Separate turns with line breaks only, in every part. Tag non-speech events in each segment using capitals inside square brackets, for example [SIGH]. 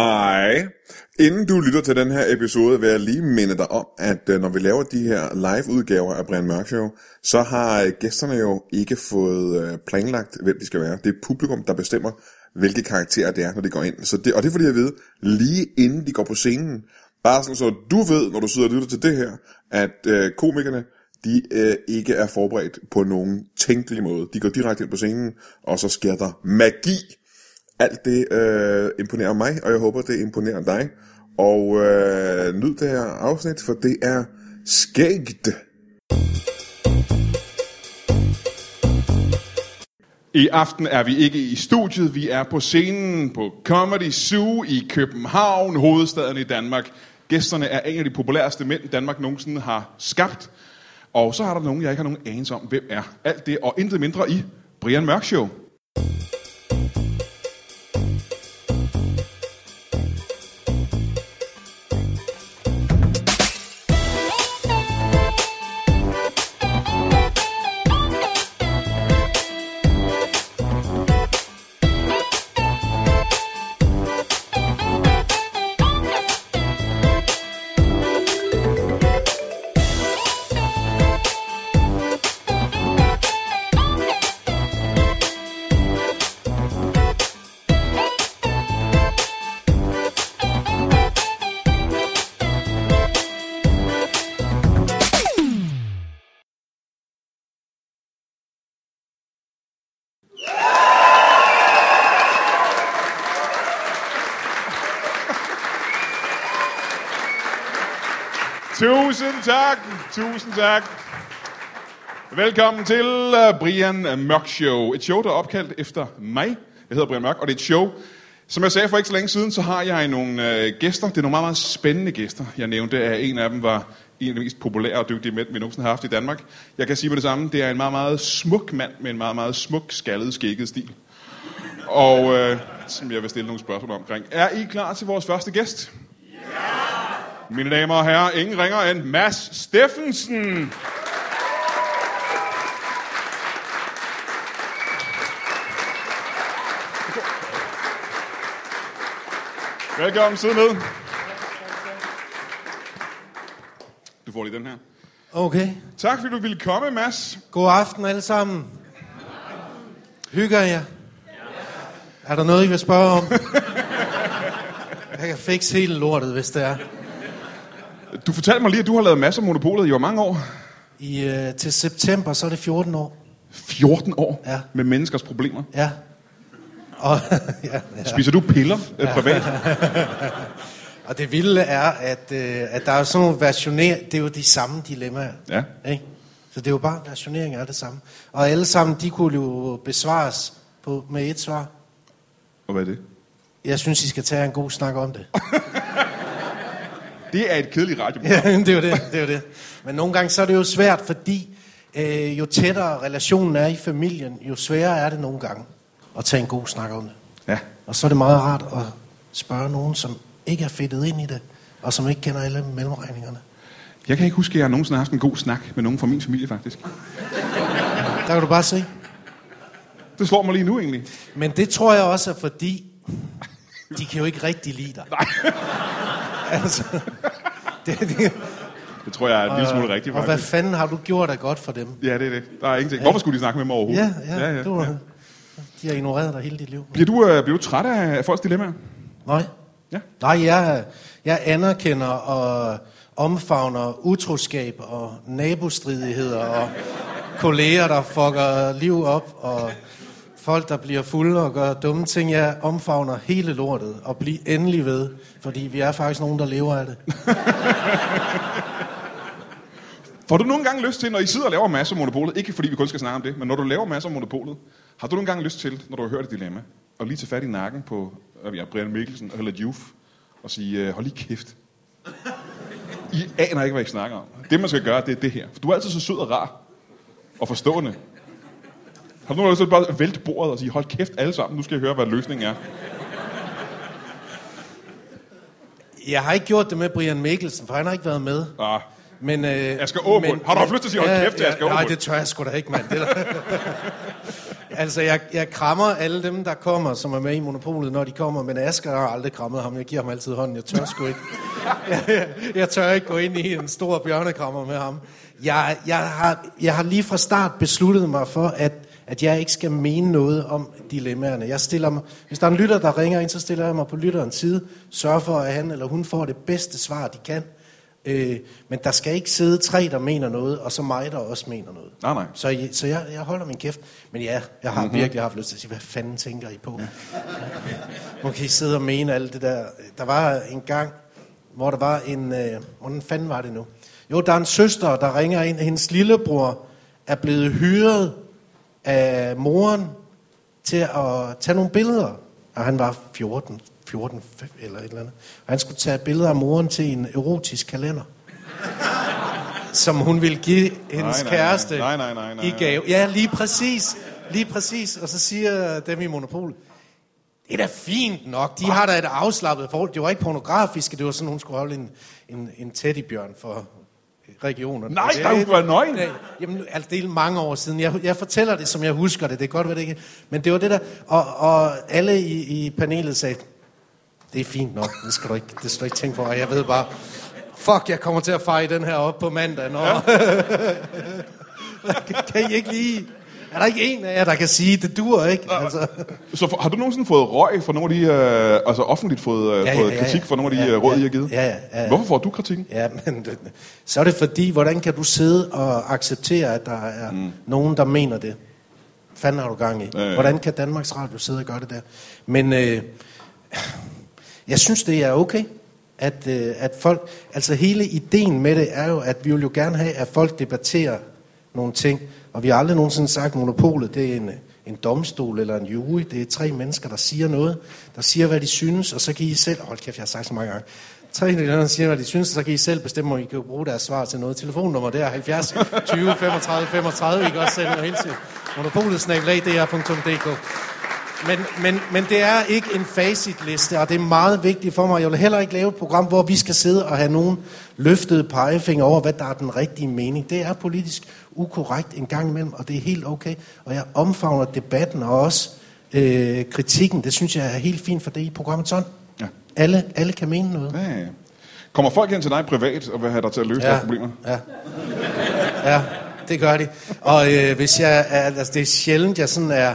Hej. Inden du lytter til den her episode, vil jeg lige minde dig om, at øh, når vi laver de her live-udgaver af Brian Mørk Show, så har øh, gæsterne jo ikke fået øh, planlagt, hvem de skal være. Det er publikum, der bestemmer, hvilke karakterer det er, når de går ind. Så det, og det får de at vide, lige inden de går på scenen. Bare sådan, så du ved, når du sidder og lytter til det her, at øh, komikerne, de øh, ikke er forberedt på nogen tænkelig måde. De går direkte ind på scenen, og så sker der magi. Alt det øh, imponerer mig, og jeg håber, det imponerer dig. Og øh, nyd det her afsnit, for det er skægt.
I aften er vi ikke i studiet, vi er på scenen på Comedy Zoo i København, hovedstaden i Danmark. Gæsterne er en af de populæreste mænd, Danmark nogensinde har skabt. Og så har der nogen, jeg ikke har nogen anelse om, hvem er. Alt det og intet mindre i Brian Mørk Show. Tusind tak, tusind tak. Velkommen til øh, Brian Mørk Show. Et show, der er opkaldt efter mig. Jeg hedder Brian Mørk, og det er et show. Som jeg sagde for ikke så længe siden, så har jeg nogle øh, gæster. Det er nogle meget, meget spændende gæster. Jeg nævnte, at en af dem var en af de mest populære og dygtige mænd, vi nogensinde har haft i Danmark. Jeg kan sige med det samme, det er en meget, meget smuk mand med en meget, meget smuk, skaldet, skægget stil. Og øh, som jeg vil stille nogle spørgsmål omkring. Er I klar til vores første gæst? Mine damer og herrer, ingen ringer end Mads Steffensen. Velkommen, sid ned. Du får lige den her.
Okay.
Tak fordi du ville komme, Mads.
God aften alle sammen. Hygger jer? Er der noget, I vil spørge om? Jeg kan fikse hele lortet, hvis det er.
Du fortalte mig lige, at du har lavet masser af monopolet i hvor mange år?
I, øh, til september, så er det 14 år.
14 år
Ja.
med menneskers problemer.
Ja. Og, [LAUGHS] ja, ja.
Spiser du piller øh, privat?
Og det vilde er, at, øh, at der er jo sådan nogle versioner... Det er jo de samme dilemmaer.
Ja.
Ikke? Så det er jo bare versionering af det samme. Og alle sammen, de kunne jo besvares på, med et svar.
Og hvad er det?
Jeg synes, I skal tage en god snak om det.
Det er et kedeligt radioprogram.
Ja, [LAUGHS] det er jo det, det er jo det. Men nogle gange så er det jo svært, fordi øh, jo tættere relationen er i familien, jo sværere er det nogle gange at tage en god snak om det.
Ja.
Og så er det meget rart at spørge nogen, som ikke er fedtet ind i det, og som ikke kender alle mellemregningerne.
Jeg kan ikke huske, at jeg nogensinde har haft en god snak med nogen fra min familie, faktisk.
Der kan du bare se.
Det slår mig lige nu, egentlig.
Men det tror jeg også er fordi, de kan jo ikke rigtig lide dig. Nej. [LAUGHS] altså, det, det,
Det tror jeg er en lille smule rigtigt,
og hvad
faktisk.
fanden har du gjort af godt for dem?
Ja, det er det. Der er ingenting. Hvorfor skulle de snakke med mig overhovedet?
Ja, ja, ja, ja, du, ja. De har ignoreret dig hele dit liv.
Bliver du, øh, bliver du træt af, af folks dilemmaer?
Nej.
Ja.
Nej, jeg, jeg anerkender og omfavner utroskab og nabostridigheder og kolleger, der fucker liv op og folk, der bliver fulde og gør dumme ting. Jeg omfavner hele lortet og bliver endelig ved, fordi vi er faktisk nogen, der lever af det.
Får du nogle gange lyst til, når I sidder og laver masser af monopolet, ikke fordi vi kun skal snakke om det, men når du laver masser af monopolet, har du nogle gange lyst til, når du har hørt et dilemma, at lige tage fat i nakken på øh, ja, Brian Mikkelsen eller Juf, og sige, øh, hold lige kæft. I aner ikke, hvad I snakker om. Det, man skal gøre, det er det her. For du er altid så sød og rar og forstående. Har du nu lyst til bare at vælte bordet og sige, hold kæft alle sammen, nu skal jeg høre, hvad løsningen er.
Jeg har ikke gjort det med Brian Mikkelsen, for han har ikke været med.
Ah,
Men, øh,
Asger Aamund. Har du haft lyst til at sige, hold kæft til Asger
Nej,
Aamund?
det tør jeg sgu da ikke, mand. Det er der- [LAUGHS] Altså, jeg, jeg krammer alle dem, der kommer, som er med i Monopolet, når de kommer, men Asger har aldrig krammet ham. Jeg giver ham altid hånden. Jeg tør sgu ikke. Jeg, jeg, [LAUGHS] jeg tør ikke gå ind i en stor bjørnekrammer med ham. Jeg, jeg, har, jeg har lige fra start besluttet mig for, at, at jeg ikke skal mene noget om dilemmaerne. Jeg stiller mig, hvis der er en lytter, der ringer ind, så stiller jeg mig på lytterens side, sørger for, at han eller hun får det bedste svar, de kan. Øh, men der skal ikke sidde tre, der mener noget, og så mig, der også mener noget.
Nej, nej. Mhm.
Så, jeg- så jeg, jeg holder min kæft. Men ja, jeg har mm-hmm. virkelig haft lyst til at sige, hvad fanden tænker I
[LAUGHS]
på? Hvor kan I sidde og mene alt det der? Der var en gang, hvor der var en... Øh, hvordan fanden var det nu? Jo, der er en søster, der ringer ind. Hendes lillebror er blevet hyret af moren til at tage nogle billeder. Og han var 14, 14 fem- eller et eller andet. Og han skulle tage billeder af moren til en erotisk kalender. Som hun ville give hendes
Nej, nej, nej.
kæreste
Nej, nej, nej, nej,
i
nej.
gave. Ja, lige præcis. Lige præcis. Og så siger dem i Monopol, det er da fint nok. De har da et afslappet forhold. Det var ikke pornografiske, det var sådan, hun skulle holde en, en, en teddybjørn for regionerne.
Nej,
Det er
der
lidt-
var nøgen.
Nej, Jamen, nu- altså, det er mange år siden. Jeg, jeg fortæller det, som jeg husker det. Det er godt, hvad det ikke Men det var det der. Og, og alle i, i panelet sagde, det er fint nok. Det skal du ikke, det skal du ikke tænke på. Og jeg ved bare, fuck, jeg kommer til at feje den her op på mandag. Nå. Ja. [LAUGHS] kan I ikke lige... Er der ikke en af jer, der kan sige, det dur ikke? Altså.
Så for, har du nogensinde fået røg fra nogle af de, øh, altså offentligt fået, øh, ja, ja, fået ja, ja, kritik fra nogle af de ja, råd, I har givet?
Ja, ja, ja, ja.
Hvorfor får du kritikken?
Ja, men det, så er det fordi, hvordan kan du sidde og acceptere, at der er mm. nogen, der mener det? Fanden har du gang i?
ja.
Øh. Hvordan kan Danmarks Radio sidde og gøre det der? Men øh, jeg synes, det er okay, at, øh, at folk... Altså hele ideen med det er jo, at vi vil jo gerne have, at folk debatterer nogle ting. Og vi har aldrig nogensinde sagt, at monopolet det er en, en domstol eller en jury. Det er tre mennesker, der siger noget, der siger, hvad de synes, og så kan I selv... Hold kæft, jeg har sagt så mange gange. Tre mennesker, der siger, hvad de synes, og så kan I selv bestemme, om I kan bruge deres svar til noget. Telefonnummer, det er 70 20 35 35. I kan også sende noget hele tiden. Monopolet snabelag, dr.dk. Men, men, men det er ikke en facitliste, og det er meget vigtigt for mig. Jeg vil heller ikke lave et program, hvor vi skal sidde og have nogen løftet pegefinger over, hvad der er den rigtige mening. Det er politisk ukorrekt en gang imellem, og det er helt okay. Og jeg omfavner debatten og også øh, kritikken. Det synes jeg er helt fint, for det er i programmet sådan.
Ja.
Alle, alle kan mene noget.
Ja, ja. Kommer folk hen til dig privat og vil have dig til at løse ja. deres problemer?
Ja. ja, det gør de. Og øh, hvis jeg er, altså det er sjældent, jeg sådan er,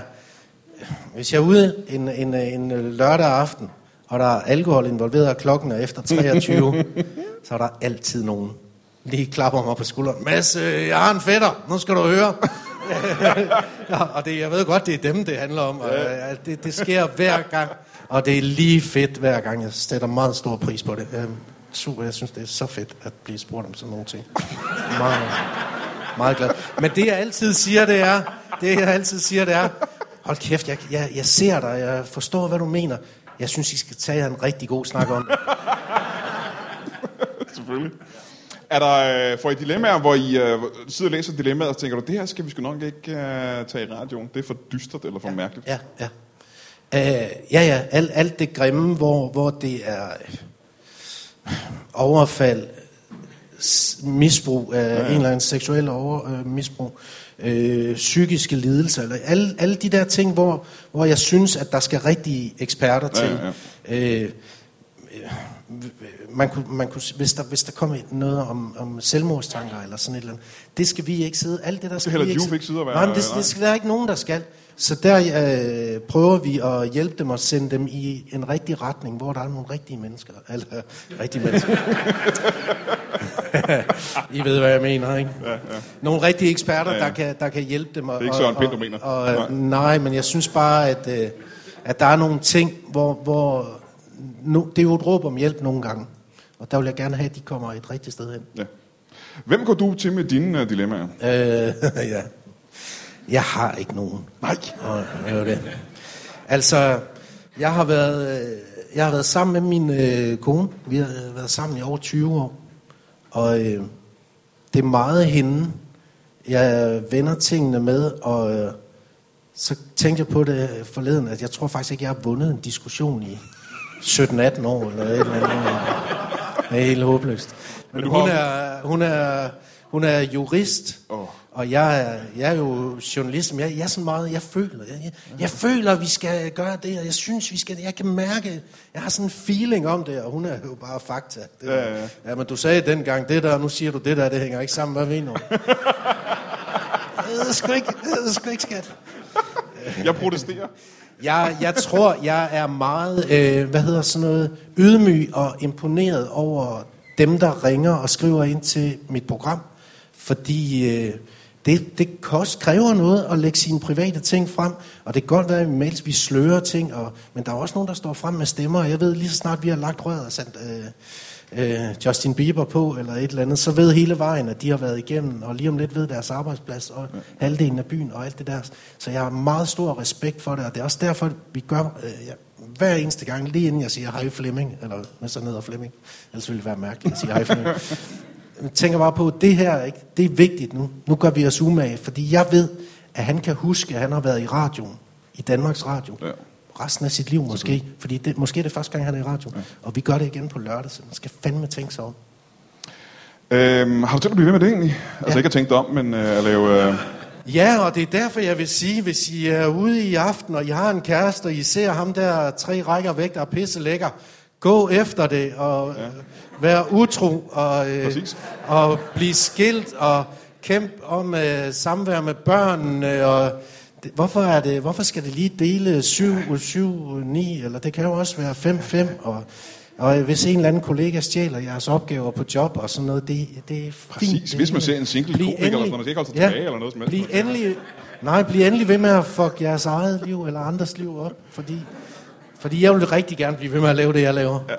hvis jeg er ude en, en, en lørdag aften, og der er alkohol involveret, og klokken er efter
[LAUGHS]
23, så er der altid nogen. Lige klapper mig på skulderen. Mads, øh, jeg har en fætter. Nu skal du høre. [LAUGHS] ja, og det, jeg ved godt, det er dem, det handler om. Og, øh, det, det sker hver gang. Og det er lige fedt hver gang. Jeg sætter meget stor pris på det. Øhm, super, jeg synes, det er så fedt at blive spurgt om sådan nogle ting. Meget, meget glad. Men det, jeg altid siger, det er... Det, jeg altid siger, det er... Hold kæft, jeg, jeg, jeg ser dig. Jeg forstår, hvad du mener. Jeg synes, I skal tage jer en rigtig god snak om det.
[LAUGHS] Selvfølgelig. Er der, øh, får I dilemmaer, hvor I øh, sidder og læser dilemmaet, og tænker du, det her skal vi sgu nok ikke øh, tage i radioen. Det er for dystert eller for ja. mærkeligt.
Ja, ja. Øh, ja, ja, alt, alt det grimme, hvor, hvor det er øh, overfald, s- misbrug af ja, ja. en eller anden seksuel over, øh, misbrug, øh, psykiske lidelser, eller alle, alle de der ting, hvor, hvor jeg synes, at der skal rigtige eksperter
Ja,
til. Ja, ja. Øh, man kunne, man kunne, s- hvis, der, hvis der kom et- noget om, om selvmordstanker eller sådan et eller andet, det skal vi ikke sidde, alt det der skal
heller
vi ikke
Juve ikke sidde og være-
Nej, men det,
nej.
det skal der er ikke nogen, der skal. Så der øh, prøver vi at hjælpe dem og sende dem i en rigtig retning, hvor der er nogle rigtige mennesker. Eller, rigtige
[LAUGHS]
mennesker. [LAUGHS] I ved, hvad jeg mener, ikke? Ja, ja. Nogle rigtige eksperter, ja,
Ja,
ja.
ja.
Der, kan, der kan hjælpe dem. Og,
Det er ikke Søren
og-
Pind, du mener.
Og, og, nej, men jeg synes bare, at, øh, at der er nogle ting, hvor... hvor nu, det er jo et råb om hjælp nogle gange. Og der vil jeg gerne have, at de kommer et rigtigt sted hen.
Ja. Hvem går du til med dine øh, dilemmaer?
Øh, [LAUGHS] ja. Jeg har ikke nogen.
Nej.
Og det var det. Altså, jeg har været, øh, jeg har været sammen med min øh, kone. Vi har øh, været sammen i over 20 år. Og øh, det er meget hende. Jeg vender tingene med, og øh, så tænkte jeg på det forleden, at jeg tror faktisk ikke, jeg har vundet en diskussion i 17-18 år, eller et eller andet. Det er helt håbløst.
Men
Men, Men
du
hun,
har-
er, hun, er, hun er jurist,
Åh.
oh. Og jeg, er- jeg er jo journalist, men jeg, jeg er sådan meget, jeg føler. Jeg, jeg, jeg føler, vi skal gøre det, og jeg synes, vi skal Jeg kan mærke, jeg har sådan en feeling om det, og hun er jo bare fakta. Det var,
Ja, ja.
ja, men du sagde dengang det der, og nu siger du det der, det hænger ikke sammen. Hvad
[LAUGHS]
ved du? Det er sgu ikke, det er sgu ikke skat.
Jeg protesterer.
Jeg, jeg tror, jeg er meget, øh, hvad hedder sådan noget, ydmyg og imponeret over dem, der ringer og skriver ind til mit program. Fordi øh, det, det kost, kræver noget at lægge sine private ting frem. Og det kan godt være, at imens vi slører ting. Og, men der er også nogen, der står frem med stemmer. Og jeg ved, lige så snart vi har lagt røret og sendt øh, øh, Justin Bieber på, eller et eller andet, så ved hele vejen, at de har været igennem. Og lige om lidt ved deres arbejdsplads, og halvdelen af byen, og alt det der. Så jeg har meget stor respekt for det. Og det er også derfor, at vi gør... Øh, ja, hver eneste gang, lige inden jeg siger hej Flemming, eller med sådan hedder Flemming, ellers ville det være mærkeligt at sige hej Flemming. Jeg tænker bare på, det her, ikke? det er vigtigt nu. Nu gør vi os umage, fordi jeg ved, at han kan huske, at han har været i radioen, i Danmarks Radio,
Ja.
ja. resten af sit liv måske, fordi det, måske er det første gang, han er i radioen, ja. og vi gør det igen på lørdag, så man skal fandme tænke sig om.
Øhm, har du tænkt at blive ved med det egentlig? Altså ja. ikke at tænke dig om, men øh, at lave... Øh...
Ja, og det er derfor, jeg vil sige, hvis I er ude i aften, og I har en kæreste, og I ser ham der tre rækker væk, der er pisse lækker, gå efter det, og ja. vær utro, og, øh,
Præcis.
og blive skilt, og kæmp om øh, samvær med børnene, og det, hvorfor, er det, hvorfor skal det lige dele 7 ud 7 9, eller det kan jo også være 5 5, og, og hvis en eller anden kollega stjæler jeres opgaver på job og sådan noget, det, det er fint.
Præcis.
det
Hvis man
hele.
ser en single
Bliv
komiker eller sådan noget, man skal ikke holde sig tilbage eller noget som helst.
Bliv endelig, nej, bliv endelig ved med at fuck jeres eget liv eller andres liv op, fordi, fordi jeg vil rigtig gerne blive ved med at lave det, jeg laver. Ja,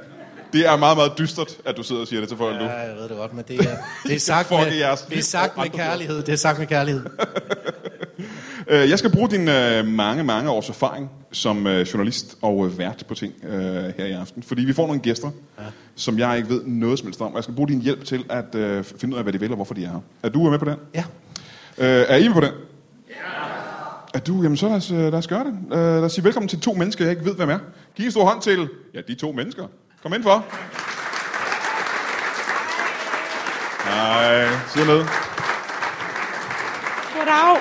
Det er meget, meget dystert, at du sidder og siger det til folk nu.
ja jeg ved det godt, men det er,
[LAUGHS]
det er sagt,
Fuck
med,
jeres
det
liv
er
og
sagt med
andres liv.
kærlighed. Det er sagt med kærlighed.
Øh, jeg skal bruge din øh, mange, mange års erfaring som øh, journalist og øh, vært på ting øh, her i aften. Fordi vi får nogle gæster, ja. som jeg ikke ved noget som helst om. Og jeg skal bruge din hjælp til at øh, finde ud af, hvad de vil og hvorfor de er her. Er du med på den?
Ja.
Øh, er I med på den? Ja. Er du? Jamen så lad os, øh, lad os gøre det. Øh, lad os sige velkommen til to mennesker, jeg ikke ved, hvem er. Giv en stor hånd til, ja, de to mennesker. Kom ind for. Hej. Sid ned.
Goddag.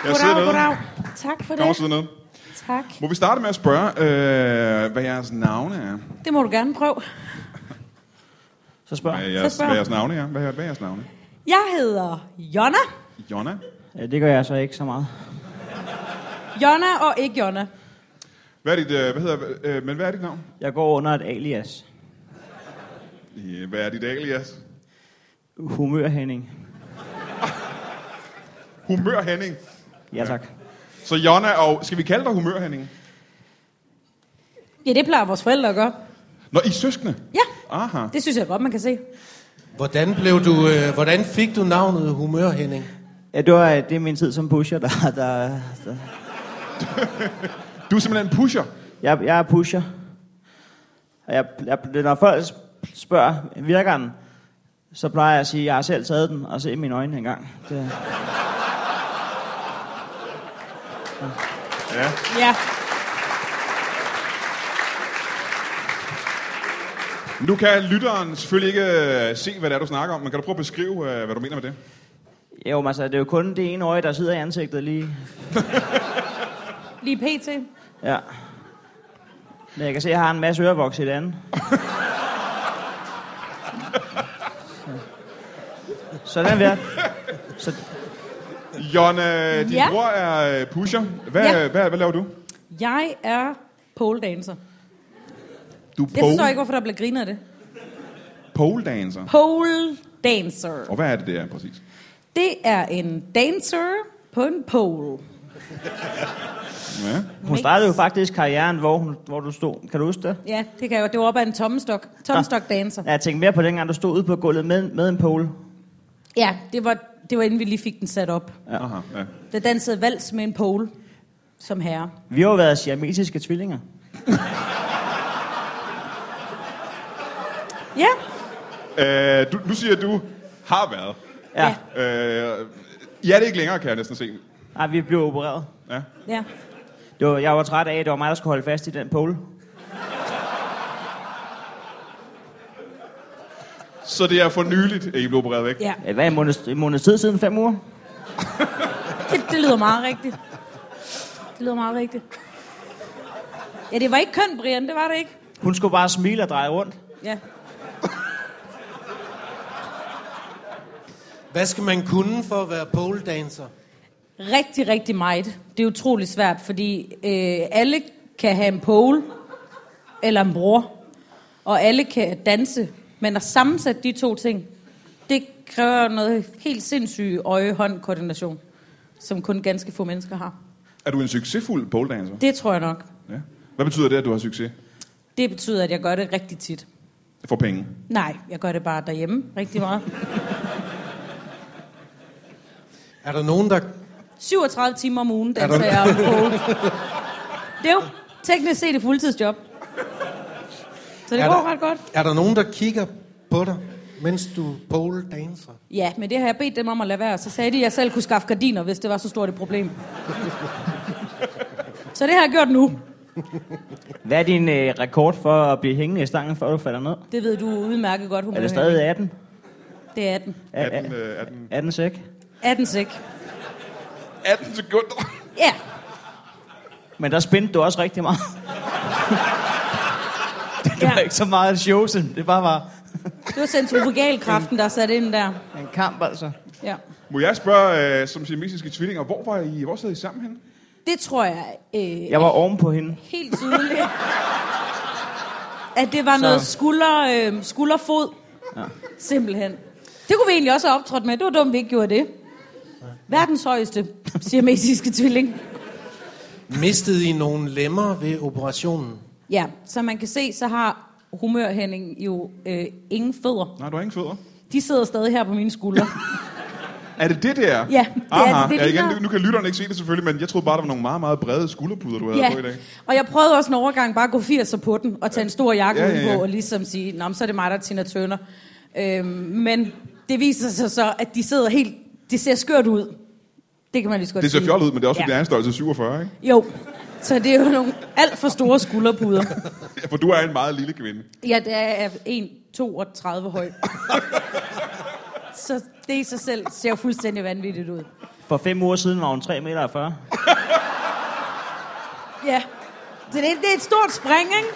Jeg
Goddag,
sidder nede.
goddag. Tak for
Kom og
det.
sidde nede.
Tak.
Må vi starte med at spørge, øh, hvad jeres navne er?
Det må du gerne prøve.
Så spørg.
Hvad jeres,
spørg.
hvad jeres navne er? Hvad, hvad er jeres navne?
Jeg hedder Jonna.
Jonna?
Ja, det gør jeg så ikke så meget.
Jonna og ikke Jonna.
Hvad er dit, øh, hvad hedder, øh, men hvad er dit navn?
Jeg går under et alias.
Ja, Hvad er dit alias?
Humør Henning.
Humør Henning.
Ja tak.
Så Jonna og... Skal vi kalde dig Humør Henning?
Ja, det plejer vores forældre at gøre.
Nå, I er søskende?
Ja,
Aha.
det synes jeg godt, man kan se.
Hvordan, blev du, øh, hvordan fik du navnet Humør Henning?
Ja, det, var, det er min tid som pusher, [LAUGHS] der... der, der.
Du er simpelthen en pusher.
Jeg, jeg er pusher. Og jeg, jeg, når folk spørger, virker den? Så plejer jeg at sige, at jeg har selv taget den og se i mine øjne engang. Det,
Ja.
Nu kan lytteren selvfølgelig ikke øh, se, hvad det er, du snakker om, men kan du prøve at beskrive, øh, hvad du mener med det?
jo, men altså, det er jo kun det ene øje, der sidder i ansigtet lige.
Lige pt.
Ja. Men jeg kan se, at jeg har en masse ørevoks i det andet. Sådan der. Så,
Jonna, din ja.
Ja.
bror er øh, pusher. Hvad, ja.
Ja.
hvad, hvad laver du?
Jeg er pole dancer.
Du
Jeg forstår ikke, hvorfor der bliver grinet af det.
pole dancer.
Pole dancer.
Og hvad er det, det er præcis?
Det er en dancer på en pole.
Ja.
hun startede jo faktisk karrieren, hvor, hun, hvor du stod. Kan du huske det?
Ja, det kan jeg jo. Det var op ad en tommestok.
Ah.
Tommestok dancer.
Ja, jeg tænkte mere på dengang, du stod ude på gulvet med, med en pole.
Ja, det var, det var inden vi lige fik den sat op.
ja. Aha, ja.
Der dansede vals med en pole som herre.
Vi har jo været siamesiske tvillinger.
Ja.
Øh, du, nu siger du, har været.
Ja.
Øh, ja, det er ikke længere, kan jeg næsten se.
Nej, vi blev opereret.
Ja.
Ja.
Det var, jeg var træt af, at det var mig, der skulle holde fast i den pole.
Så det er for nyligt, at I blev opereret væk.
Ja,
Øh, Hvad er en måneds, en måneds tid siden? Fem uger?
det, det lyder meget rigtigt. Det lyder meget rigtigt. Ja, det var ikke kønt, Brian, det var det ikke.
Hun skulle bare smile og dreje rundt.
Ja.
Hvad skal man kunne for at være pole dancer?
Rigtig, rigtig meget. Det er utrolig svært, fordi øh, alle kan have en pole eller en bror, og alle kan danse, men at sammensætte de to ting, det kræver noget helt sindssyg øje-hånd-koordination, som kun ganske få mennesker har.
Er du en succesfuld pole dancer?
Det tror jeg nok.
Ja. Hvad betyder det, at du har succes?
Det betyder, at jeg gør det rigtig tit.
For penge.
Nej, jeg gør det bare derhjemme rigtig meget.
Er der nogen, der...
37 timer om ugen danser jeg
[LAUGHS]
om pole. Det er jo teknisk set et fuldtidsjob. Så det
er
går
der,
ret godt.
Er der nogen, der kigger på dig, mens du pole danser?
Ja, men det har jeg bedt dem om at lade være. Så sagde de, at jeg selv kunne skaffe gardiner, hvis det var så stort et problem. så det har jeg gjort nu.
Hvad er din øh, rekord for at blive hængende i stangen, før du falder ned?
Det ved du udmærket godt, hun
Er det stadig 18?
Det er 18.
Er,
18,
er,
øh, 18,
18 sæk?
18 sek.
18 sekunder.
Ja,
Men der spændte du også rigtig meget. det var
Ja.
ikke så meget et show, som det bare var
det var centrifugalkraften, der satte ind der.
en kamp, altså.
Ja.
Må jeg spørge, øh, som siamesiske tvillinger, hvor var I, hvor sad I sammen henne?
Det tror jeg øh,
Jeg var oven på hende.
helt tydeligt. At det var
Så-
noget skulder, øh, skulderfod.
Ja.
Simpelthen. Det kunne vi egentlig også have optrådt med. Det var dumt, vi ikke gjorde det. Verdens højeste siamesiske tvilling.
Mistede I nogle lemmer ved operationen?
Ja, som man kan se, så har humørhænding jo øh, ingen fødder.
Nej, du har ingen fødder.
De sidder stadig her på mine skuldre.
Er det det der?
Ja, det er
Aha.
det. Det
ja, igen,
ligner-
nu, nu kan lytterne ikke se det selvfølgelig, men jeg troede bare, der var nogle meget, meget brede skulderpuder, du havde
ja.
på i dag.
Og jeg prøvede også en overgang bare at gå 80'er på den, og tage en stor jakke
Ja,
ja,
ja, ja.
på, og ligesom sige, Nå, men så er det mig, der er Tina Turner. Øhm, men det viser sig så, at de sidder helt... Det ser skørt ud. Det kan man lige så godt
Det ser
sige.
fjollet ud, men det er også, fordi ja.
Ja.
det er en størrelse 47, ikke?
Jo, så det er jo nogle alt for store skulderpuder.
Ja, for du er en meget lille kvinde.
Ja, det er 1,32 høj. så det i sig selv ser jo fuldstændig vanvittigt ud.
For fem uger siden var hun 3,40 meter.
Ja, så det, det er et stort spring, ikke?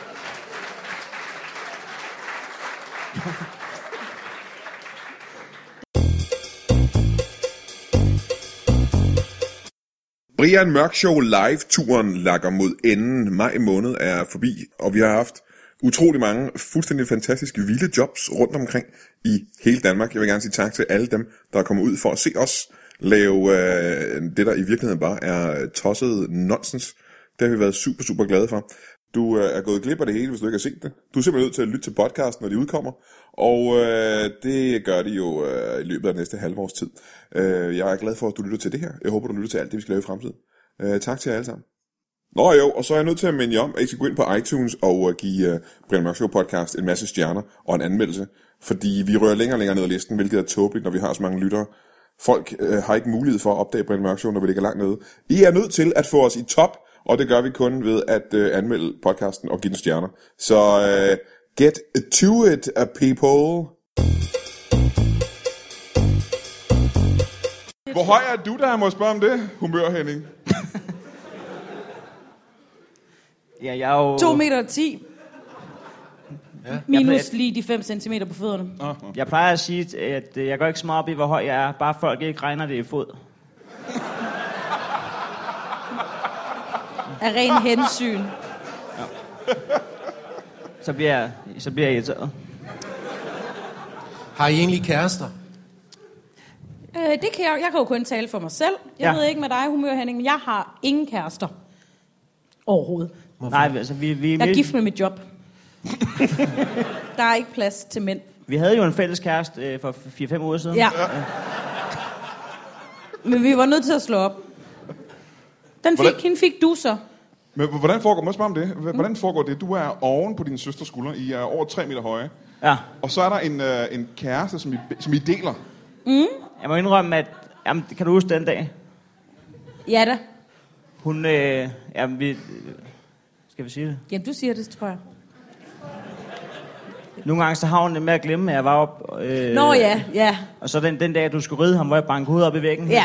Brian Mørk Show live-turen lakker mod enden. Maj måned er forbi, og vi har haft utrolig mange fuldstændig fantastiske vilde jobs rundt omkring i hele Danmark. Jeg vil gerne sige tak til alle dem, der er kommet ud for at se os lave øh, det, der i virkeligheden bare er tosset nonsens. Det har vi været super, super glade for. Du øh, er gået glip af det hele, hvis du ikke har set det. Du er simpelthen nødt til at lytte til podcasten, når de udkommer. Og øh, det gør de jo øh, i løbet af det næste halve års tid. Øh, jeg er glad for, at du lytter til det her. Jeg håber, du lytter til alt det, vi skal lave i fremtiden. Øh, tak til jer alle sammen. Nå jo, og så er jeg nødt til at minde jer om, at I skal gå ind på iTunes og øh, give øh, Brian Mørk Show podcast en masse stjerner og en anmeldelse. Fordi vi rører længere og længere ned ad listen, hvilket er tåbeligt, når vi har så mange lyttere. Folk øh, har ikke mulighed for at opdage Brian Mørk Show, når vi ligger langt nede. I er nødt til at få os i top, og det gør vi kun ved at øh, anmelde podcasten og give den stjerner. Så øh, get to it, uh, people!
Hvor høj er du, der må jeg spørge om det? Humør, Henning.
Ja, jeg er jo...
2 meter og 10. Ja. Minus
Jeg-
lige de 5 cm på fødderne.
Ah, ah.
Jeg plejer at sige, at øh, jeg går ikke så meget op i, hvor høj jeg er. Bare folk ikke regner det i fod.
Af ren hensyn.
Så bliver jeg, så bliver jeg irriteret.
Har I egentlig kærester?
Øh, det kan jeg, jeg kan jo kun tale for mig selv. Jeg
Ja.
ja. ved ikke med dig, humør Henning, men jeg har ingen kærester. Overhovedet.
Hvorfor? Nej, altså, vi, vi,
Jeg er
vi,
gift med mit job. der er ikke plads til mænd.
vi havde jo en fælles kæreste øh, for 4-5 uger siden.
Ja. Men vi var nødt til at slå op. Den fik,
Hvordan-
hende fik du så.
Men h- hvordan foregår, må jeg spørge om det? H- Hvordan foregår det? Du er oven på din søsters skulder. I er over 3 meter høje.
ja.
Og så er der en, øh, en kæreste, som I, som I deler.
Jeg må indrømme, at... Jamen, kan du huske den dag?
Ja da.
Hun... Øh, jamen, vi... øh, Skal vi sige det?
Jamen, du siger det, tror jeg.
Nogle gange så havner det med at glemme, at jeg var op. Øh,
Nå ja, ja,
Og så den, den dag, du skulle ride ham, hvor jeg bankede hovedet op i væggen.
ja.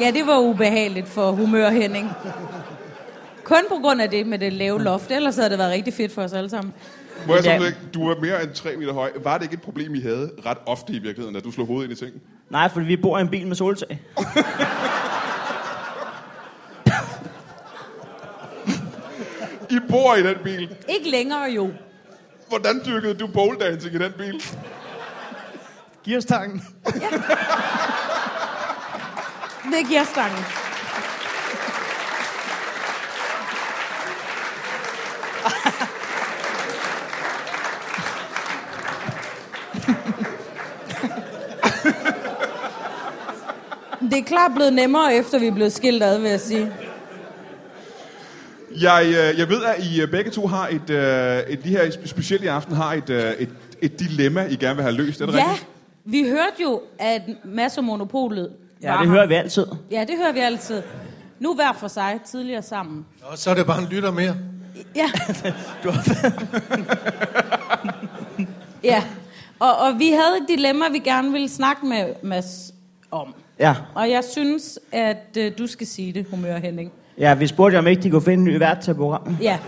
Ja, det var ubehageligt for humør Henning. Kun på grund af det med det lave loft, ellers havde det været rigtig fedt for os alle sammen.
Må jeg så
Ja.
ikke, du er mere end 3 meter høj. Var det ikke et problem, I havde ret ofte i virkeligheden, at du slog hovedet ind i ting?
Nej, fordi vi bor i en bil med soltag.
I bor i den bil.
Ikke længere jo.
Hvordan dyrkede du pole dancing i den bil?
Gearstangen.
Med gearstangen. Det er klart blevet nemmere, efter vi er blevet skilt ad, vil jeg sige.
Jeg, øh, jeg ved, at I øh, begge to har et, øh, et lige her spe- specielt i aften har et, øh, et, et dilemma, I gerne vil have løst. Er det
Ja,
rigtigt?
vi hørte jo, at Mads og Monopolet
Ja,
var
det
her.
hører vi altid.
Ja, det hører vi altid. Nu hver for sig, tidligere sammen.
Nå, så er det bare en lytter mere.
Ja. [LAUGHS] ja. Og, og vi havde et dilemma, vi gerne ville snakke med Mads om.
Ja.
Og jeg synes, at øh, du skal sige det, humør Henning.
ja, vi spurgte jo, om ikke de kunne finde en ny vært til programmet.
Ja.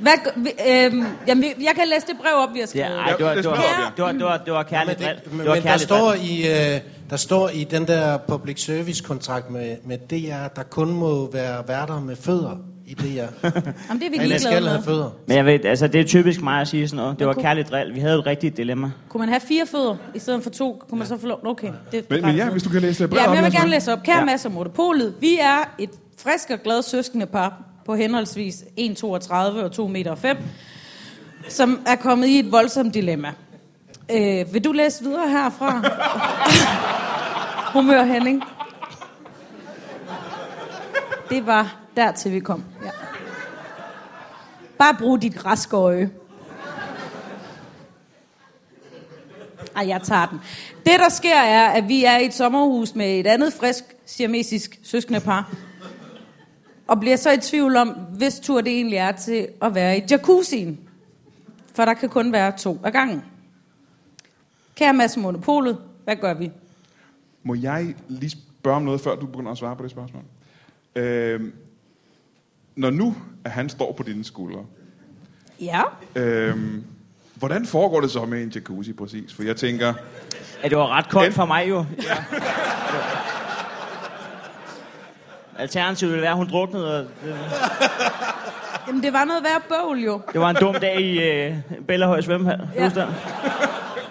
Hvad, g- vi- øhm, jamen, vi- jeg kan læse det brev op, vi har
Ja,
skrevet.
ej, det var,
Ja, det
det var,
spørger
vi om.
det var, det var, det var
Men,
kærligt
det,
drilleri.
men
Det var
der,
kærligt
står
drilleri.
i, øh, der står i den der public service kontrakt med, med DR, der kun må være værter med fødder i
[LAUGHS]
DR.
Jamen, det er vi
Men jeg
ligeglade
skal
med.
have fødder.
Men jeg ved, altså, det er typisk mig at sige sådan noget. Det var
kunne-
kærligt drill. Vi havde et rigtigt dilemma.
Kunne man have fire fødder i stedet for to? Kunne man så få lov? Okay. Det
Men, men ja, hvis du kan læse det brev
Ja, men
op,
jeg vil
Mads Lang.
gerne læse op. Kære ja.
Ja.
Mads og Monopolet, vi er et frisk og glad søskende par på henholdsvis 1,32 og 2,5 meter, som er kommet i et voldsomt dilemma. Øh, vil du læse videre herfra? [LAUGHS] Humør Henning. Det var dertil, vi kom. Ja. Bare brug dit raske øje. Ej, jeg tager den. Det, der sker, er, at vi er i et sommerhus med et andet frisk siamesisk søskendepar. Og bliver så i tvivl om, hvis tur det egentlig er til at være i jacuzzien. For der kan kun være to af gangen. Kære Mads og Monopolet, hvad gør vi?
Må jeg lige spørge om noget, før du begynder at svare på det spørgsmål? Øh, når nu, at han står på dine skuldre,
Ja.
øh, hvordan foregår det så med en jacuzzi præcis? For jeg tænker,
Ja, det var ret koldt
Den-
for
[LAUGHS]
mig jo. Ja. Alternativet ville være, at hun druknede. Og det,
Jamen, det var noget værd bøvl, jo.
det var en dum dag i øh, Bellahøj svømmehal. Kan du
Ja.
huske den?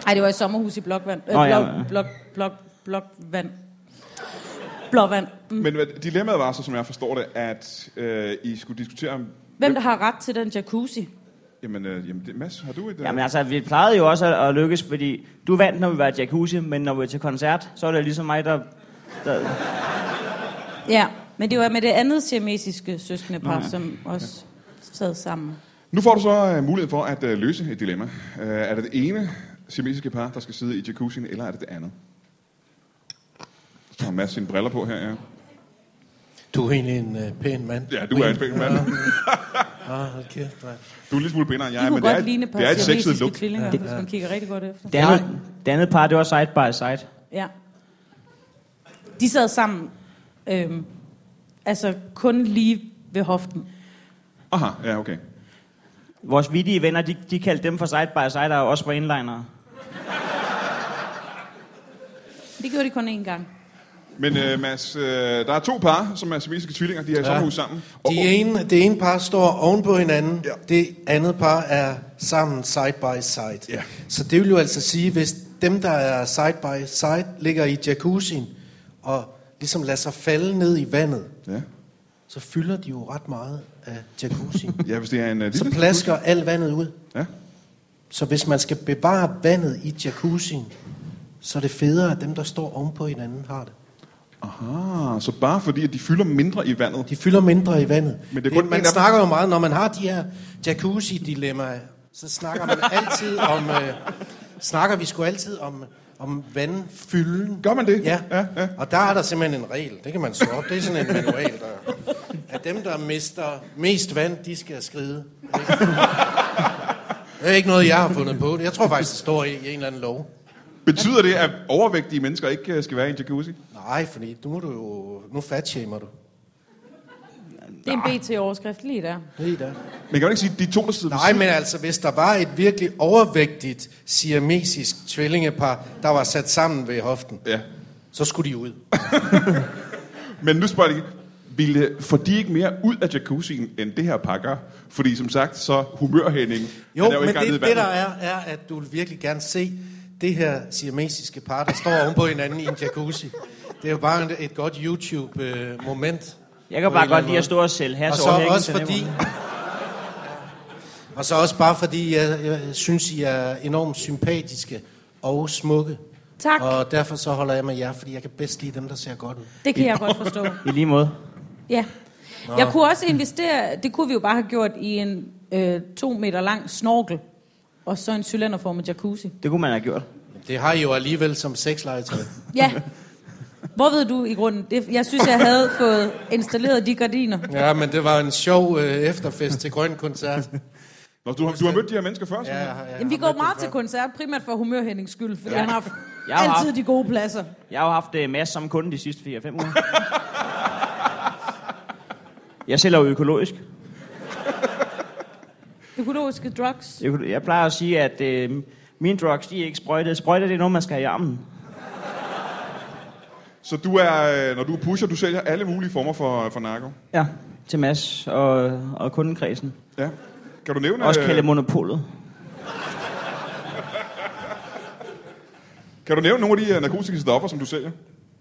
Nej, det var i sommerhus i Blokvand. Øh,
Nå,
blok,
ja.
blok, blok, blok, blokvand. Blåvand. Mm.
men hvad- dilemmaet var så, som jeg forstår det, at øh, I skulle diskutere om...
Hvem der har ret til den jacuzzi?
Jamen, øh, jamen det, Mads, har du et... Øh...
Jamen altså, vi plejede jo også at, at lykkes, fordi du vandt, når vi var i jacuzzi, men når vi var til koncert, så er det ligesom mig, der... der
Ja, men det var med det andet siamesiske søskendepar, ja. som også sad sammen.
Nu får du så uh, mulighed for at uh, løse et dilemma. Uh, er det det ene siamesiske par, der skal sidde i jacuzzien, eller er det det andet? Så har Mads sine briller på her, ja.
Du er egentlig en øh, pæn mand.
Ja, du er en spændende [LAUGHS] mand.
Ah, hold kæft, mand.
Du er en lille smule pænere end jeg,
De
er,
kunne
men det er,
godt
et-
ligne et par
det er et sexet
siamesiske
look.
tvillinger, hvis man kigger rigtig godt efter.
det, andet, det andet par, det var side by side.
Ja. De sad sammen, øhm, altså kun lige ved hoften.
Aha, ja, okay.
Vores vidige venner, de, de kaldte dem for side by side, og også for inlinere.
Det gjorde de kun én gang.
Men uh, Mads, uh, der er to par, som er siamesiske tvillinger. De er i sommerhus sammen. Og,
De ene, det ene par står oven på hinanden,
Ja.
ja. det andet par er sammen side by side.
Ja.
Så det vil jo altså sige, hvis dem, der er side by side, ligger i jacuzzien og ligesom lader sig falde ned i vandet,
ja.
så fylder de jo ret meget af jacuzzien.
ja, hvis det er en uh, [LAUGHS] lille...
så plasker alt vandet ud.
Ja.
Så hvis man skal bevare vandet i jacuzzien, så er det federe, at dem, der står oven på hinanden, har det.
Aha, så bare fordi, at de fylder mindre i vandet.
De fylder mindre i vandet.
Men det er kun en af
man
dem.
snakker jo meget, når man har de her jacuzzi-dilemmaer, så snakker man altid om, øh, snakker vi sgu altid om, om vandfylden.
Gør man det?
Ja.
Ja,
ja,
ja.
ja, og der er der simpelthen en regel. Det kan man slå op. Det er sådan en manual, der... at dem, der mister mest vand, de skal skride. Det er ikke noget, jeg har fundet på. Jeg tror faktisk, det står i i en eller anden lov.
Betyder det, at overvægtige mennesker ikke øh, skal være i en jacuzzi?
Nej, fordi nu må du jo... Nu fatshamer du.
Det er en BT-overskrift lige der.
Lige der.
Men kan man ikke sige, at de to, der sidder ved
Nej,
siden-
men altså, hvis der var et virkelig overvægtigt siamesisk tvillingepar, der var sat sammen ved hoften,
Ja.
så skulle de ud.
Men nu spørger jeg lige, ville, får de ikke mere ud af jacuzzien, end det her par gør? Fordi som sagt, så humørhænding,
Jo,
han er jo
jo men
ikke engang
det,
nede i
det der
vandet.
er, er, at du vil virkelig gerne se det her siamesiske par, der står oven på hinanden i en jacuzzi. Det er jo bare en- et godt YouTube-moment.
Jeg kan bare godt lide at stå og sælge has
Og så
over hækken
også
til naboerne.
fordi... Og så også bare fordi, jeg, jeg synes, I er enormt sympatiske og smukke.
Tak.
Og derfor så holder jeg med jer, fordi jeg kan bedst lide dem, der ser godt ud.
Det kan jeg godt forstå.
I lige måde.
Ja. Jeg kunne også investere, det kunne vi jo bare have gjort i en øh, to meter lang snorkel, og så en cylinderformet jacuzzi.
Det kunne man have gjort.
Det har I jo alligevel som sexlegetøj.
Ja. Hvor ved du i grunden? Det, jeg synes, jeg havde fået installeret de gardiner.
Ja, men det var en sjov øh, efterfest til Grøn Koncert.
Nå, du, har, du har mødt de her mennesker før?
Ja,
Ja.
jeg har- jeg
Jamen, vi
har
går
mødt dem
meget
før.
til koncert, primært for humørhændings skyld, fordi
Ja.
ja. han har haft
Jeg har
altid de gode pladser.
Jeg har jo haft uh, masser som kunde de sidste 4-5 uger. jeg sælger jo økologisk.
Økologiske drugs.
Øko- Jeg plejer at sige, at øh, mine drugs, de er ikke sprøjtet. Sprøjtet, det er noget, man skal have i armen.
Så du er, øh, når du er pusher, du sælger alle mulige former for, for narko?
Ja, til Mads og, og kundekredsen.
Ja. Kan du nævne,
Også
øh,
kaldet monopolet.
kan du nævne nogle af de øh, narkotiske stoffer, som du sælger?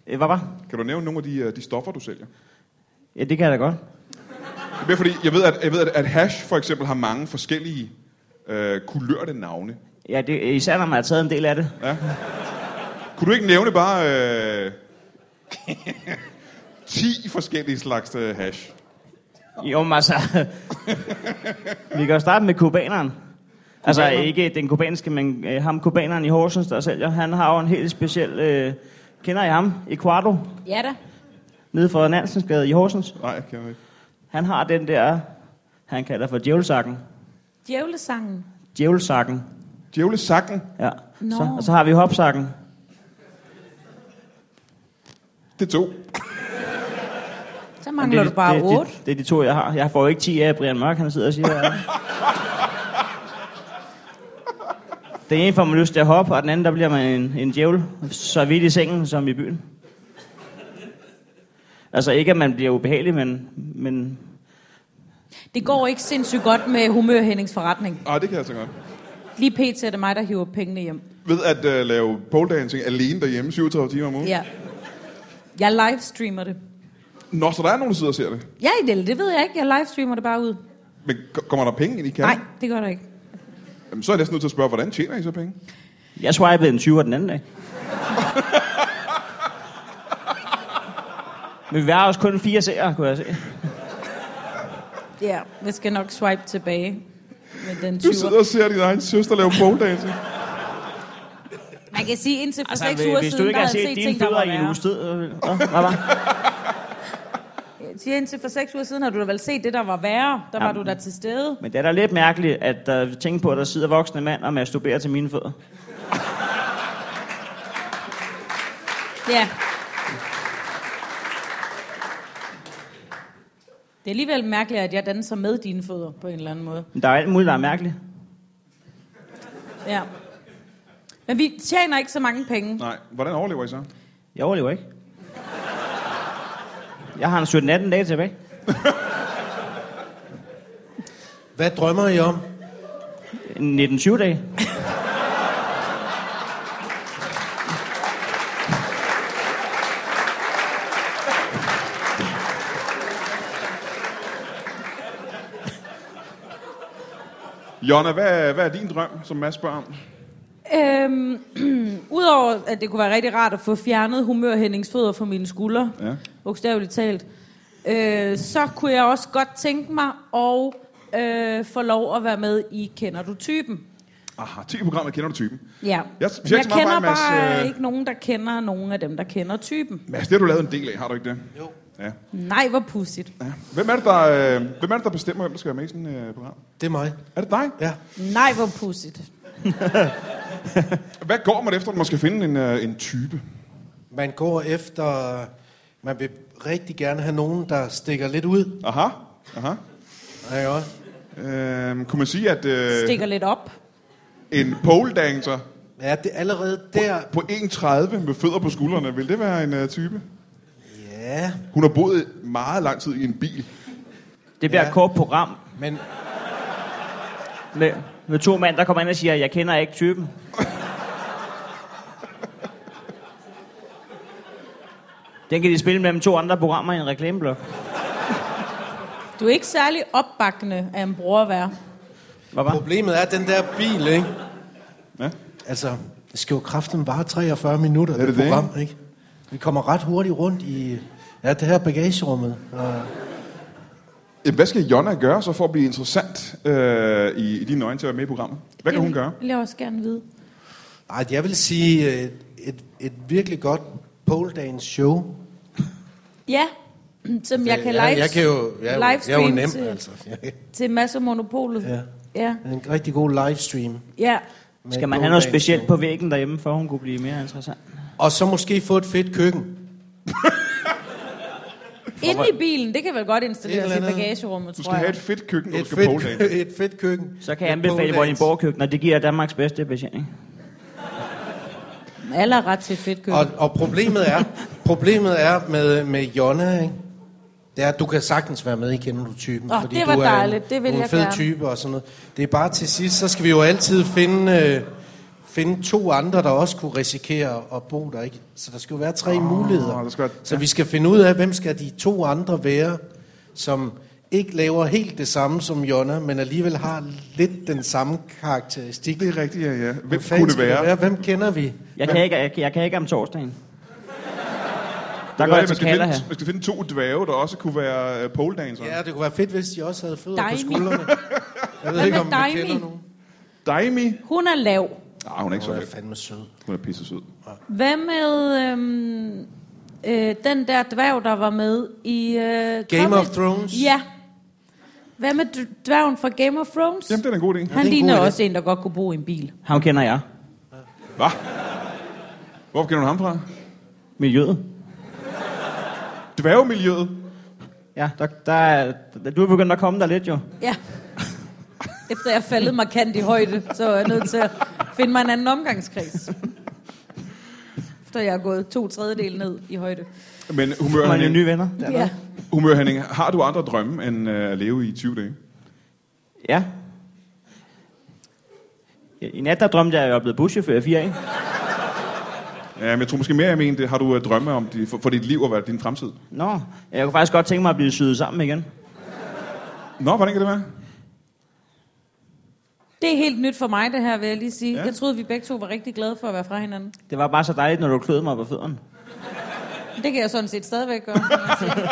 Øh, Hvad var?
Kan du nævne nogle af de, øh, de stoffer, du sælger?
Ja, det kan jeg da godt.
Det er mere fordi, jeg ved, at, jeg ved, at, at hash for eksempel har mange forskellige øh, kulørte navne.
Ja, det, især når man har taget en del af det.
Kunne du ikke nævne bare øh, [LAUGHS] 10 forskellige slags øh, hash?
[LAUGHS] Jo, men altså... vi kan jo starte med kubaneren. Altså
Kubaneren?
ikke den kubanske, men øh, ham kubaneren i Horsens, der sælger. Han har jo en helt speciel... Øh, kender I ham? Ecuador,
Ja da.
nede fra Nansensgade i Horsens.
Nej, jeg kender ikke.
Han har den der, han kalder for djævelsakken.
Djævlesangen.
Djævelsakken,
Djævlesakken.
ja.
Nå.
Så, og så har vi hopsakken.
Det er to.
Så mangler
det,
du bare
det,
otte.
Det, det, er de to, jeg har. Jeg får jo ikke 10 af Brian Mørk, han sidder og siger.
[LAUGHS]
Ja. Den ene får man lyst til at hoppe, og den anden, der bliver man en, en djævel. Så vidt i sengen, som i byen. Altså ikke, at man bliver ubehagelig, men, men
Det går ikke sindssygt godt med humørhændings forretning.
Ah, det kan jeg så godt.
Lige pt. er det mig, der hiver pengene hjem.
Ved at øh, lave pole dancing alene derhjemme 37 timer om ugen.
Ja. Jeg livestreamer det.
Nå, så der er nogen, der sidder og ser det.
Ja, det, det ved jeg ikke. Jeg livestreamer det bare ud.
Men ko- kommer der penge ind i
Ja.
kassen?
Nej, det gør der ikke.
Jamen, så er jeg næsten nødt til at spørge, hvordan tjener I så penge?
jeg swipede en 20'er den anden
[LAUGHS]
dag. Men vi er også kun fire seere, kunne jeg se.
Ja, jeg skal nok swipe tilbage med den
Du sidder
20'er.
og ser din egen søster lave pole dancing.
Man kan sige, indtil for altså,
Altså,
6
hvis,
uger
hvis
siden,
du ikke
der
har
havde
set
set
dine
ting, der
fødder
var
i en
værre.
uges tid... øh, øh, Hvad var?
Jeg siger, indtil for 6 uger siden har du da vel set det, der var værre. Der var
Jamen.
du der til stede.
Men det er da lidt mærkeligt, at uh, tænke på, at der sidder voksne mænd og masturberer til mine fødder.
Ja. Det er alligevel mærkeligt, at jeg danser med dine fødder på en eller anden måde.
Men der er alt muligt, der er mærkeligt.
Ja. Men vi tjener ikke så mange penge.
Nej, hvordan overlever I så?
Jeg overlever ikke. Jeg har en 17-18 dage tilbage.
Hvad drømmer I om?
En 19-20 dage.
Jonna, hvad, hvad er din drøm, som Mads spørger om?
Øhm, [CLEARS THROAT] Udover at det kunne være rigtig rart at få fjernet humørhændingsfødder fra mine skuldre,
Ja.
ja. bogstaveligt talt, øh, så kunne jeg også godt tænke mig at øh, få lov at være med i Kender du typen?
Aha, tv-programmet kender du typen.
Ja.
Jeg siger ikke
jeg
så meget
kender
om dig, Mads,
bare
øh.
ikke nogen, der kender nogen af dem, der kender typen.
Mads, det har du lavet en del af, har du ikke det?
Jo.
Ja.
Nej, hvor pudsigt.
ja. Hvem, er det, der, øh, hvem er det, der bestemmer, hvem der skal være med i sådan et øh, program?
Det er mig.
Er det dig?
Ja.
Nej, hvor pudsigt.
Hvad går man efter, når man skal finde en, øh, en type?
Man går efter... Man vil rigtig gerne have nogen, der stikker lidt ud.
Aha, aha.
Ja, jo.
Øhm, kunne man sige, at øh,
Stikker lidt op.
en pole dancer
ja det, allerede der...
på 1,30 med fødder på skuldrene, vil det være en øh, type?
Ja,
Hun har boet meget lang tid i en bil.
Det bliver
Ja.
ja. et kort program
men
med, med to mænd, der kommer ind og siger, jeg kender ikke typen. Den kan de spille mellem to andre programmer i en reklameblok.
Du er ikke særlig opbakkende af en bror at være.
Hvad var?
problemet er den der bil, ikke?
Ja.
Altså, det skal jo kraften bare 43 minutter,
det
det
det,
program, ikke? Vi kommer ret hurtigt rundt i ja, det her bagagerummet. Og
Jamen, Hvad skal Jonna gøre så for at blive interessant øh, i, i dine øjne til at være med i programmet? Hvad kan hun gøre?
Det vil jeg også gerne vide.
Ej, jeg vil sige øh, et, et virkelig godt pole dance show. Øh,
Ja, [CLEARS THROAT] som jeg kan live,
Altså, jeg, jeg kan jo, jeg, er jo- jeg er jo
livestreame
nem,
til,
altså. [LAUGHS]
til Mads og Monopolet.
Ja.
Ja.
en rigtig god livestream.
ja.
med
Skal man
pole
have noget
dance
specielt
show.
på væggen derhjemme, for at hun kunne blive mere interessant?
Og så måske få et fedt køkken.
Inde i bilen, det kan vel godt
Et
installeres
eller
i
andet.
bagagerummet,
Du
tror
skal have et
jeg.
fedt køkken, når du
Et
skal
fedt,
pole danse.
kø- [LAUGHS] et fedt køkken.
Så kan jeg
Med pole
anbefale
dance.
Vordingborg køkkener. Det giver Danmarks bedste betjening.
Alle har ret til et fedt køkken.
Og, og problemet er, problemet er med, med Jonna, ikke? Det er, at du kan sagtens være med i Kender du typen.
Åh, det var
du
dejligt. Det vil
du er en
jeg
fed
gerne.
type og sådan noget. Det er bare til sidst, så skal vi jo altid finde, øh, finde to andre, der også kunne risikere at bo der, ikke? Så der skal jo være tre oh, muligheder.
der skal være-
Så vi skal finde ud af, hvem skal de to andre være, som ikke laver helt det samme som Jonna, men alligevel har lidt den samme karakteristik.
Det er rigtigt, ja, ja. Hvem
Hvem
kunne
fanden
det
skal
være?
Hvem kender vi?
Jeg kan ikke, jeg, jeg kan ikke om torsdagen. Der
Ved
går
du
jeg
hvad, man,
til
skal
kalder
finde,
her.
man skal finde to dværge, der også kunne være øh, pole dancer.
Ja, det kunne være fedt, hvis de også havde fødder på
Dejmi.
skuldrene. Jeg ved
Hvad
ikke,
med
om vi kender
Dejmi?
nogen.
Daimi?
Hun er lav.
Nej, hun er ikke så
Hun er
vild.
fandme sød.
Hun er pisse sød.
Hvad med øhm, øh, den der dværg, der var med i...
Game
Øh, Comedy-
of Thrones?
Ja. Hvad med d- dværgen fra Game of Thrones?
Jamen, det er en god idé.
Han
det er en
ligner
god idé.
også en, der godt kunne bo i en bil.
Ham kender jeg.
Hvad? Hvor kender du ham fra?
Miljøet.
Dværgemiljøet.
Ja, der, der, er- du er begyndt at komme der lidt jo.
Ja. Efter jeg er faldet markant i højde, så er jeg nødt til at finde mig en anden omgangskreds. Efter jeg er gået to tredjedel ned i højde.
Men humør,
Man er jo nye
Henning,
venner.
Ja.
humør Henning, har du andre drømme end øh, at leve i 20 dage?
Ja. I nat der drømte jeg, at jeg var blevet buschauffør i fire, ikke?
Ja, men jeg tror måske mere, jeg mener det. Har du øh, drømme om de, for, for, dit liv og hvad, din fremtid?
Nå, jeg kunne faktisk godt tænke mig at blive syet sammen igen.
Nå, hvordan kan det være?
Det er helt nyt for mig, det her, vil jeg lige sige.
Ja.
Ja. Jeg troede, vi begge to var rigtig glade for at være fra hinanden.
Det var bare så dejligt, når du kløede mig på fødderne.
Det kan jeg sådan set stadigvæk gøre. kan man sige.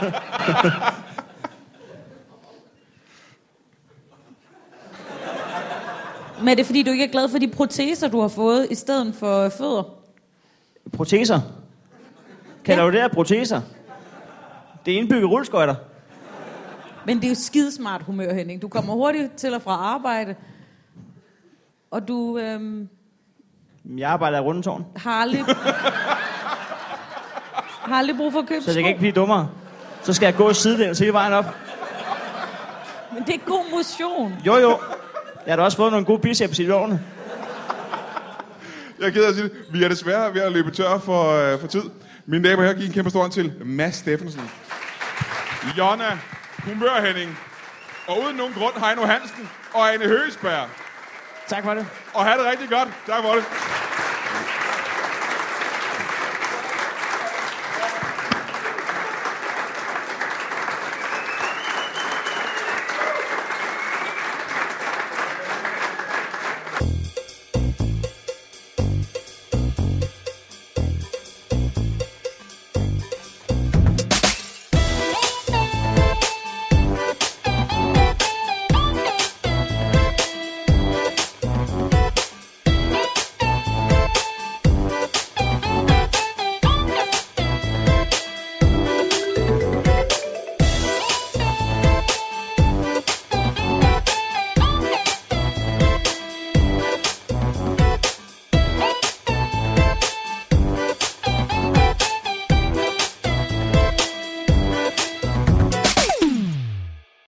Men er det fordi, du ikke er glad for de proteser, du har fået, i stedet for fødder?
Proteser. Kalder
Ja.
du det her proteser? Det er indbygget rulleskøjter.
Men det er jo skidesmart humør, Henning. Du kommer hurtigt til og fra arbejde, og du øhm,
Jeg arbejder i Rundetårn,
har,
[LAUGHS]
aldrig, har aldrig brug for at købe
så det
sko.
kan ikke blive dummere. Så skal jeg gå sidelæns hele vejen op.
Men det er god motion.
Jo, jo. Jeg har da også fået nogle gode biceps i årene.
Jeg er ked af at sige det. Vi er desværre ved at løbe tør for, øh, for tid. Mine damer og herrer, giv en kæmpe stor hånd til Mads Steffensen. Jonna Humør Henning. Og uden nogen grund, Heino Hansen og Anne Høgesberg.
Tak for det.
Og have det rigtig godt. Tak for det.